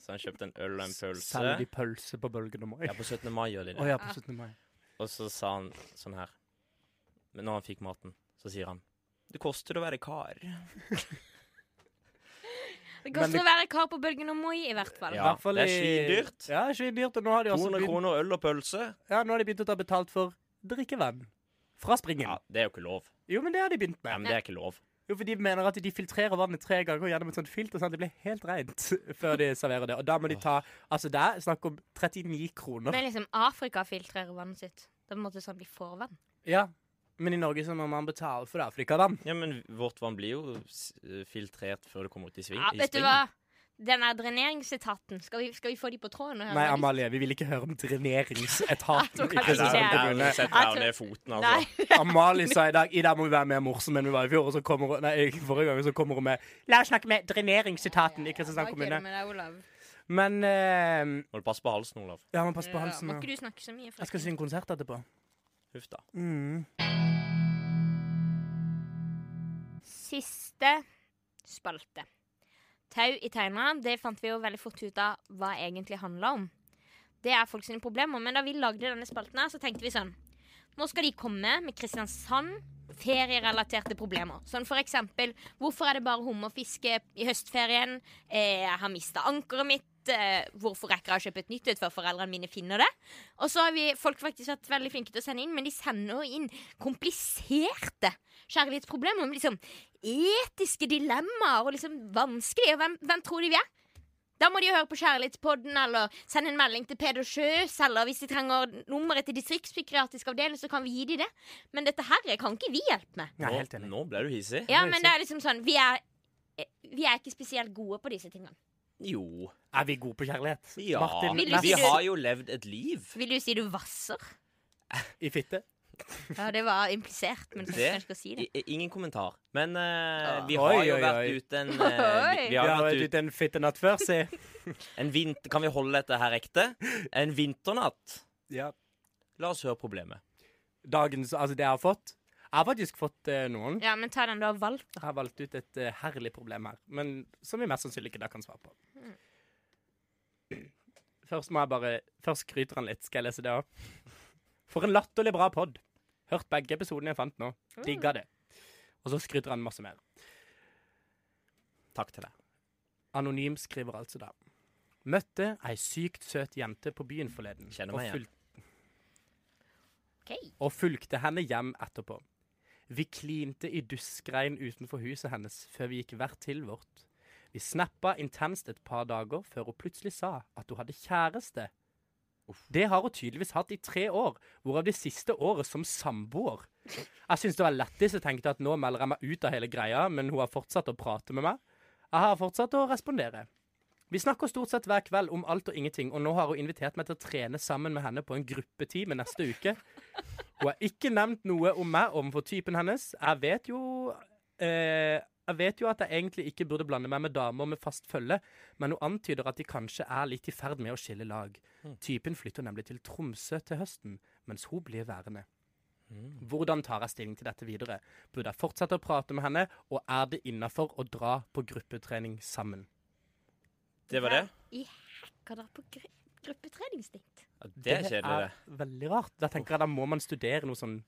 [SPEAKER 3] Så han kjøpte en øl og en pølse.
[SPEAKER 2] Selger de pølse på Bølgen og Moi?
[SPEAKER 3] Ja, på 17. mai gjør de
[SPEAKER 2] Å
[SPEAKER 3] det.
[SPEAKER 2] ja, på 17. mai.
[SPEAKER 3] Og så sa han sånn her Men når han fikk maten, så sier han Det koster å være kar.
[SPEAKER 1] Det
[SPEAKER 2] Men
[SPEAKER 1] koster
[SPEAKER 2] det-
[SPEAKER 1] å være kar på Bølgen og Moi, i hvert fall.
[SPEAKER 3] Ja. det er svindyrt.
[SPEAKER 2] Ja, svindyrt. Og nå har de også
[SPEAKER 3] 200
[SPEAKER 2] begynt,
[SPEAKER 3] kroner øl og pølse?
[SPEAKER 2] ja, nå har de begynt å ta betalt for drikkevann. Fra springen.
[SPEAKER 3] Ja, det er jo ikke lov.
[SPEAKER 2] Jo, men det har de begynt
[SPEAKER 3] Nei,
[SPEAKER 2] med.
[SPEAKER 3] men det er ikke lov.
[SPEAKER 2] Jo, for de mener at de filtrerer vannet tre ganger gjennom et sånt filter, sånn at det blir helt rent før de serverer det. Og da må de ta Altså, det er snakk om 39 kroner.
[SPEAKER 1] Men liksom Afrika filtrerer vannet sitt. Det er på en måte sånn de får vann.
[SPEAKER 2] Ja. Men i Norge så må man betale for det, for de ikke har vann.
[SPEAKER 3] Ja, men vårt vann blir jo s- eh, filtrert før det kommer ut i sving.
[SPEAKER 1] Ja,
[SPEAKER 3] i
[SPEAKER 1] vet du
[SPEAKER 3] springen.
[SPEAKER 1] hva? Den der dreneringsetaten, skal vi, skal vi få de på tråden? og høre
[SPEAKER 2] Nei,
[SPEAKER 1] hva de-
[SPEAKER 2] Amalie, vi vil ikke høre om dreneringsetaten.
[SPEAKER 1] Jeg tror
[SPEAKER 2] i
[SPEAKER 1] kanskje
[SPEAKER 3] Nei,
[SPEAKER 1] ikke
[SPEAKER 2] Kristiansand
[SPEAKER 1] det er-
[SPEAKER 3] der,
[SPEAKER 2] kommune.
[SPEAKER 3] der setter jeg jo ned foten, altså.
[SPEAKER 1] Nei.
[SPEAKER 2] Amalie sa i dag I dag må vi være mer morsomme enn vi var i fjor. Og så kommer hun, nei, forrige gang så kommer hun med La oss snakke med dreneringsetaten i
[SPEAKER 1] Bare
[SPEAKER 2] Kristiansand
[SPEAKER 1] kødde
[SPEAKER 2] kommune.
[SPEAKER 1] med deg, Olav.
[SPEAKER 2] Men eh,
[SPEAKER 3] Må du passe på halsen, Olav.
[SPEAKER 2] Ja, man passer på
[SPEAKER 1] Ja,
[SPEAKER 2] halsen.
[SPEAKER 1] Eh, Må
[SPEAKER 2] ja.
[SPEAKER 1] ikke du snakke så mye?
[SPEAKER 2] Jeg skal synge konsert etterpå.
[SPEAKER 3] Huff da.
[SPEAKER 2] Mm.
[SPEAKER 1] Siste spalte. Tau i tegneren, det fant vi jo veldig fort ut av hva egentlig handla om. Det er folk sine problemer, men da vi lagde denne spalten, her, så tenkte vi sånn Nå skal de komme med Kristiansand ferierelaterte problemer. Sånn for eksempel Hvorfor er det bare hummerfiske i høstferien? Eh, Jeg har mista ankeret mitt. Eh, Hvorfor rekker jeg å kjøpe et nytt et før foreldrene mine finner det? Og så har vi folk faktisk vært veldig flinke til å sende inn, men de sender jo inn kompliserte kjærlighetsproblemer. om Liksom etiske dilemmaer og liksom vanskelig. Og hvem, hvem tror de vi er? Da må de jo høre på Kjærlighetspodden eller sende en melding til Peder Sjøs. Eller hvis de trenger nummeret til distriktspsykiatrisk avdeling, så kan vi gi dem det. Men dette her kan ikke vi hjelpe med.
[SPEAKER 2] Nei,
[SPEAKER 3] Nå-
[SPEAKER 2] helt enig.
[SPEAKER 3] Nå ble du hissig.
[SPEAKER 1] Ja,
[SPEAKER 2] Nei,
[SPEAKER 1] men
[SPEAKER 2] så-
[SPEAKER 1] det er liksom sånn Vi er, eh, vi er ikke spesielt gode på disse tingene.
[SPEAKER 3] Jo.
[SPEAKER 2] Er vi gode på kjærlighet?
[SPEAKER 3] Ja.
[SPEAKER 2] Martin,
[SPEAKER 1] Vil du
[SPEAKER 2] Mats
[SPEAKER 1] si
[SPEAKER 3] vi
[SPEAKER 1] du-
[SPEAKER 3] har jo levd et liv.
[SPEAKER 1] Vil du si du vasser?
[SPEAKER 2] i fitte?
[SPEAKER 1] Ja, det var implisert, men kanskje
[SPEAKER 3] Det-
[SPEAKER 1] jeg skal si det.
[SPEAKER 3] I, i- ingen kommentar. Men eh, vi
[SPEAKER 2] Ah.
[SPEAKER 3] har
[SPEAKER 2] Oi,
[SPEAKER 3] jo
[SPEAKER 2] oi, oi.
[SPEAKER 3] vært ute en eh, vi, vi har
[SPEAKER 2] Ja,
[SPEAKER 3] vært
[SPEAKER 2] vet
[SPEAKER 3] ute
[SPEAKER 2] du den fittenatt før, si?
[SPEAKER 3] en vinter... Kan vi holde dette her ekte? En vinternatt.
[SPEAKER 2] Ja.
[SPEAKER 3] La oss høre problemet.
[SPEAKER 2] Dagens Altså, det jeg har fått Jeg har faktisk fått eh, noen.
[SPEAKER 1] Ja, men ta den du har valgt.
[SPEAKER 2] Jeg har valgt ut et eh, herlig problem her, men som vi mest sannsynlig ikke da kan svare på. Først må jeg bare Først skryter han litt. Skal jeg lese det òg? For en latterlig bra pod. Hørt begge episodene jeg fant nå.
[SPEAKER 3] Ah.
[SPEAKER 2] Digga det. Og så skryter han masse mer.
[SPEAKER 3] Takk til deg.
[SPEAKER 2] Anonym skriver altså da. Møtte ei sykt søt jente på byen forleden.
[SPEAKER 3] Kjenner
[SPEAKER 2] og
[SPEAKER 3] meg igjen.
[SPEAKER 2] fulg-
[SPEAKER 1] OK.
[SPEAKER 2] og fulgte henne hjem etterpå. Vi klinte i duskregn utenfor huset hennes før vi gikk hvert til vårt. Vi snappa intenst et par dager før hun plutselig sa at hun hadde kjæreste. Det har hun tydeligvis hatt i tre år, hvorav det siste året som samboer. Jeg syns det var lættis og tenkte at nå melder jeg meg ut av hele greia, men hun har fortsatt å prate med meg. Jeg har fortsatt å respondere. Vi snakker stort sett hver kveld om alt og ingenting, og nå har hun invitert meg til å trene sammen med henne på en gruppetime neste uke. Hun har ikke nevnt noe om meg overfor typen hennes. Jeg vet jo eh, Jeg vet jo at jeg egentlig ikke burde blande meg med damer med fast følge, men hun antyder at de kanskje er litt i ferd med å skille lag.
[SPEAKER 3] Hmm.
[SPEAKER 2] Typen flytter nemlig til Tromsø til høsten, mens hun blir værende.
[SPEAKER 3] Hmm.
[SPEAKER 2] Hvordan tar jeg stilling til dette videre? Burde jeg fortsette å prate med henne, og er det innafor å dra på gruppetrening sammen?
[SPEAKER 3] Det var det.
[SPEAKER 1] I hekka da på gru gruppetreningsdate.
[SPEAKER 3] Ja, Det er kjedelig, det.
[SPEAKER 2] er veldig rart. Da tenker jeg da må man studere noe sånn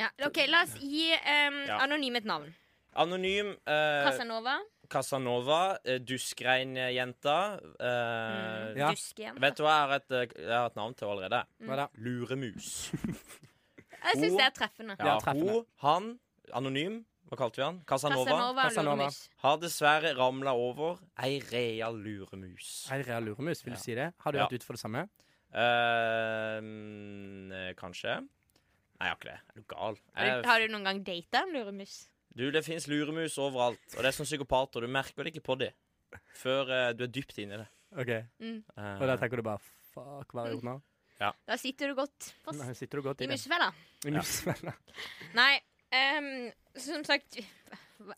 [SPEAKER 1] Ja, ok, La oss gi um,
[SPEAKER 3] Ja.
[SPEAKER 1] anonym et navn.
[SPEAKER 3] Anonym eh,
[SPEAKER 1] Casanova.
[SPEAKER 3] Casanova, eh, duskrein-jenta eh,
[SPEAKER 2] Ja.
[SPEAKER 1] Dusk igjen.
[SPEAKER 3] Vet du hva jeg har et, eh, jeg har et navn til allerede?
[SPEAKER 2] Hva da?
[SPEAKER 3] Luremus.
[SPEAKER 1] Jeg syns det er treffende.
[SPEAKER 2] Ja,
[SPEAKER 3] Ja,
[SPEAKER 2] treffende.
[SPEAKER 3] hun, han, anonym, hva kalte vi han? Casanova.
[SPEAKER 1] Casanova og
[SPEAKER 2] Casanova.
[SPEAKER 1] Luremus.
[SPEAKER 3] Har dessverre ramla over ei real luremus.
[SPEAKER 2] Er det real luremus? Vil du
[SPEAKER 3] Ja.
[SPEAKER 2] si det? Har du
[SPEAKER 3] Ja.
[SPEAKER 2] vært ute for det samme?
[SPEAKER 3] Eh, mm, kanskje. Nei, jeg har ikke det. Er du gal?
[SPEAKER 1] Har
[SPEAKER 3] Jeg-
[SPEAKER 1] du- Har du noen gang data en luremus?
[SPEAKER 3] Du, det fins luremus overalt, og det er som psykopater. Du merker det ikke på dem før eh, du er dypt inni det.
[SPEAKER 2] Ok,
[SPEAKER 1] Mm.
[SPEAKER 3] Eh,
[SPEAKER 2] Og da tenker du bare Fuck, hva har jeg gjort nå?
[SPEAKER 1] Da sitter du godt
[SPEAKER 2] Nei,
[SPEAKER 1] Mm. fast
[SPEAKER 2] sitter du godt
[SPEAKER 1] i
[SPEAKER 2] i det?
[SPEAKER 1] musefella.
[SPEAKER 2] I musefella.
[SPEAKER 1] Nei, ehm, som sagt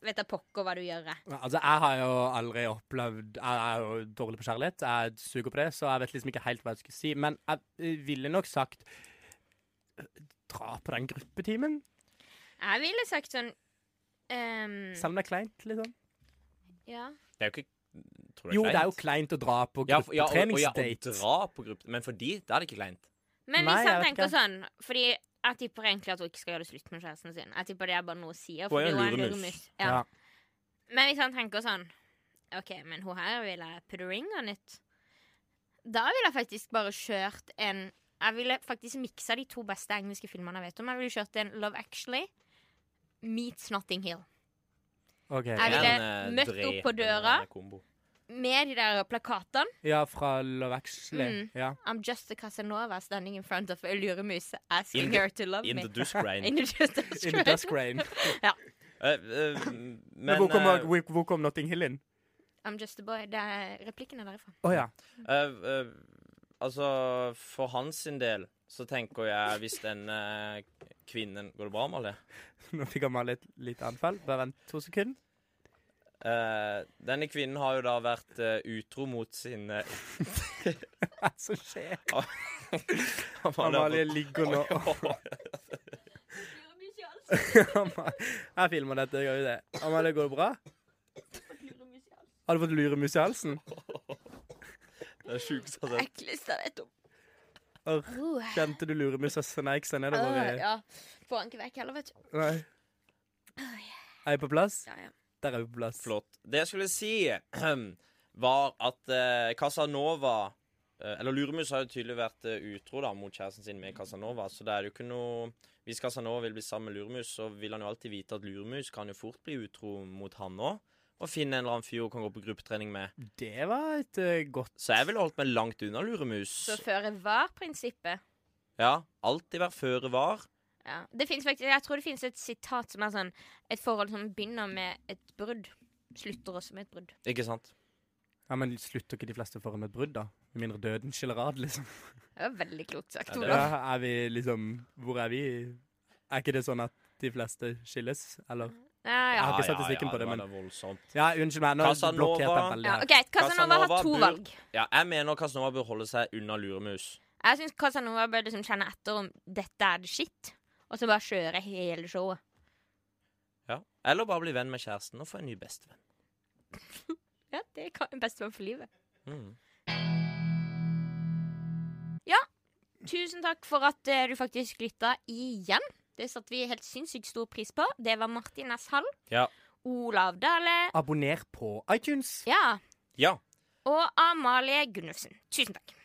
[SPEAKER 1] Vet da pokker hva du gjør. jeg.
[SPEAKER 2] Ja, Altså, jeg har jo aldri opplevd Jeg er jo dårlig på kjærlighet. Jeg suger på det, så jeg vet liksom ikke helt hva jeg skulle si. Men jeg eh, ville nok sagt Dra på den gruppetimen.
[SPEAKER 1] Mm. Jeg ville sagt sånn ehm,
[SPEAKER 2] Selv om det er kleint, liksom.
[SPEAKER 1] Ja.
[SPEAKER 3] Det er jo ikke Tror du
[SPEAKER 2] Jo, det er jo
[SPEAKER 3] kleint?
[SPEAKER 2] kleint å dra på
[SPEAKER 3] Ja, for- ja, og, og, ja, og
[SPEAKER 2] gruppetreningsdate.
[SPEAKER 3] dra på gruppe Men for de, da er det ikke kleint.
[SPEAKER 1] Men
[SPEAKER 2] Nei,
[SPEAKER 1] hvis han
[SPEAKER 2] jeg vet
[SPEAKER 1] tenker sånn Fordi jeg tipper egentlig at hun ikke skal gjøre det slutt med kjæresten sin. Jeg tipper det er bare noe hun sier.
[SPEAKER 3] Hun er
[SPEAKER 1] Fordi
[SPEAKER 3] jo
[SPEAKER 1] hun er en
[SPEAKER 3] luremus.
[SPEAKER 1] luremus. Ja.
[SPEAKER 2] Ja.
[SPEAKER 1] Men hvis han tenker sånn OK, men hun her vil jeg put a ring on it. Da ville jeg faktisk bare kjørt en Jeg ville faktisk miksa de to beste engelske filmene jeg vet om. Jeg ville kjørt en Love Actually meets Notting Hill.
[SPEAKER 2] Ok,
[SPEAKER 1] Jeg
[SPEAKER 2] ja.
[SPEAKER 1] ville
[SPEAKER 3] En, eh,
[SPEAKER 1] møtt opp på
[SPEAKER 3] drepende
[SPEAKER 1] døra.
[SPEAKER 3] kombo.
[SPEAKER 1] Med de der plakatene
[SPEAKER 2] ja, fra Love Actually.
[SPEAKER 1] Mm.
[SPEAKER 2] Ja.
[SPEAKER 1] I'm just a Casanova standing in front of a luremus asking
[SPEAKER 3] In the-
[SPEAKER 1] her to love
[SPEAKER 3] In
[SPEAKER 1] me.
[SPEAKER 3] the dusk rain.
[SPEAKER 1] In the just
[SPEAKER 2] In the dusk rain.
[SPEAKER 3] Eh, eh,
[SPEAKER 2] Men
[SPEAKER 3] men
[SPEAKER 2] hvor kom,
[SPEAKER 3] eh,
[SPEAKER 2] hvor- hvor kom Notting Hill inn?
[SPEAKER 1] I'm just a boy. Det er replikken er derifra.
[SPEAKER 2] Å ja.
[SPEAKER 3] eh, eh, Altså, for hans sin del så tenker jeg hvis denne kvinnen Går det bra med det?
[SPEAKER 2] Nå fikk han meg litt lite anfall. Bare vent to sekunder.
[SPEAKER 3] Eh, denne kvinnen har jo da vært eh, utro mot sin eh,
[SPEAKER 2] Hva er det som skjer? Amalie
[SPEAKER 3] Amalie.
[SPEAKER 2] ligger nå Ama- Jeg filmer dette. jeg gjør jo det. Amalie, går det bra? Har du fått luremus i halsen?
[SPEAKER 3] Det er sjukt, altså.
[SPEAKER 1] Ekleste jeg vet om.
[SPEAKER 2] Arr.
[SPEAKER 1] Uh,
[SPEAKER 2] Kjente du luremusa sneik seg nedover i
[SPEAKER 1] Ah, ja. Får han ikke vekk heller, vet du.
[SPEAKER 2] Nei.
[SPEAKER 1] Ah,
[SPEAKER 2] Er jeg på plass?
[SPEAKER 1] Ja, ja.
[SPEAKER 2] Der er vi på plass.
[SPEAKER 3] Flott. Det jeg skulle si, var at eh, Casanova eh, Eller Luremus har jo tydelig vært eh, utro da, mot kjæresten sin med Casanova, så det er jo ikke noe Hvis Casanova vil bli sammen med Luremus, så vil han jo alltid vite at Luremus kan jo fort bli utro mot han òg. Og finne en eller annen fyr hun kan gå på gruppetrening med.
[SPEAKER 2] Det var et eh, godt
[SPEAKER 3] Så jeg ville holdt meg langt unna Luremus.
[SPEAKER 1] Så føre var-prinsippet.
[SPEAKER 3] Ja, Alltid være føre var.
[SPEAKER 1] Ja. Det finnes faktisk, jeg tror det finnes et sitat som er sånn Et forhold som begynner med et brudd, slutter også med et brudd.
[SPEAKER 3] Ikke sant?
[SPEAKER 2] Ja, Men slutter ikke de fleste foran et brudd, da? Med mindre døden skiller ad, liksom.
[SPEAKER 1] Det var veldig klokt sagt,
[SPEAKER 3] Ja, det-
[SPEAKER 1] Olav.
[SPEAKER 2] Ja, er vi liksom Hvor er vi? Er ikke det sånn at de fleste skilles, eller?
[SPEAKER 1] Ja, ja.
[SPEAKER 2] har ikke statistikken på det, men-
[SPEAKER 3] var da voldsomt.
[SPEAKER 2] Ja, unnskyld meg, nå
[SPEAKER 3] Casanova.
[SPEAKER 2] blokkerte jeg veldig
[SPEAKER 1] ja
[SPEAKER 2] her.
[SPEAKER 1] OK, Casanova har
[SPEAKER 3] Casanova
[SPEAKER 1] to
[SPEAKER 3] bur-
[SPEAKER 1] valg.
[SPEAKER 3] Ja, jeg mener Casanova bør holde seg unna Luremus.
[SPEAKER 1] Jeg syns Casanova bør liksom kjenne etter om dette er det shit, og så bare kjøre hele showet.
[SPEAKER 3] Ja. Eller bare bli venn med kjæresten og få en ny bestevenn.
[SPEAKER 1] Ja, det er bestemann for livet.
[SPEAKER 3] Mm.
[SPEAKER 1] Tusen takk for at eh, du faktisk lytta igjen. Det satte vi helt sinnssykt stor pris på. Det var Martin S. Hall.
[SPEAKER 3] Ja.
[SPEAKER 1] Olav Dale.
[SPEAKER 2] Abonner på iTunes.
[SPEAKER 1] Ja.
[SPEAKER 3] Ja.
[SPEAKER 1] Og Amalie Gunnufsen. Tusen takk.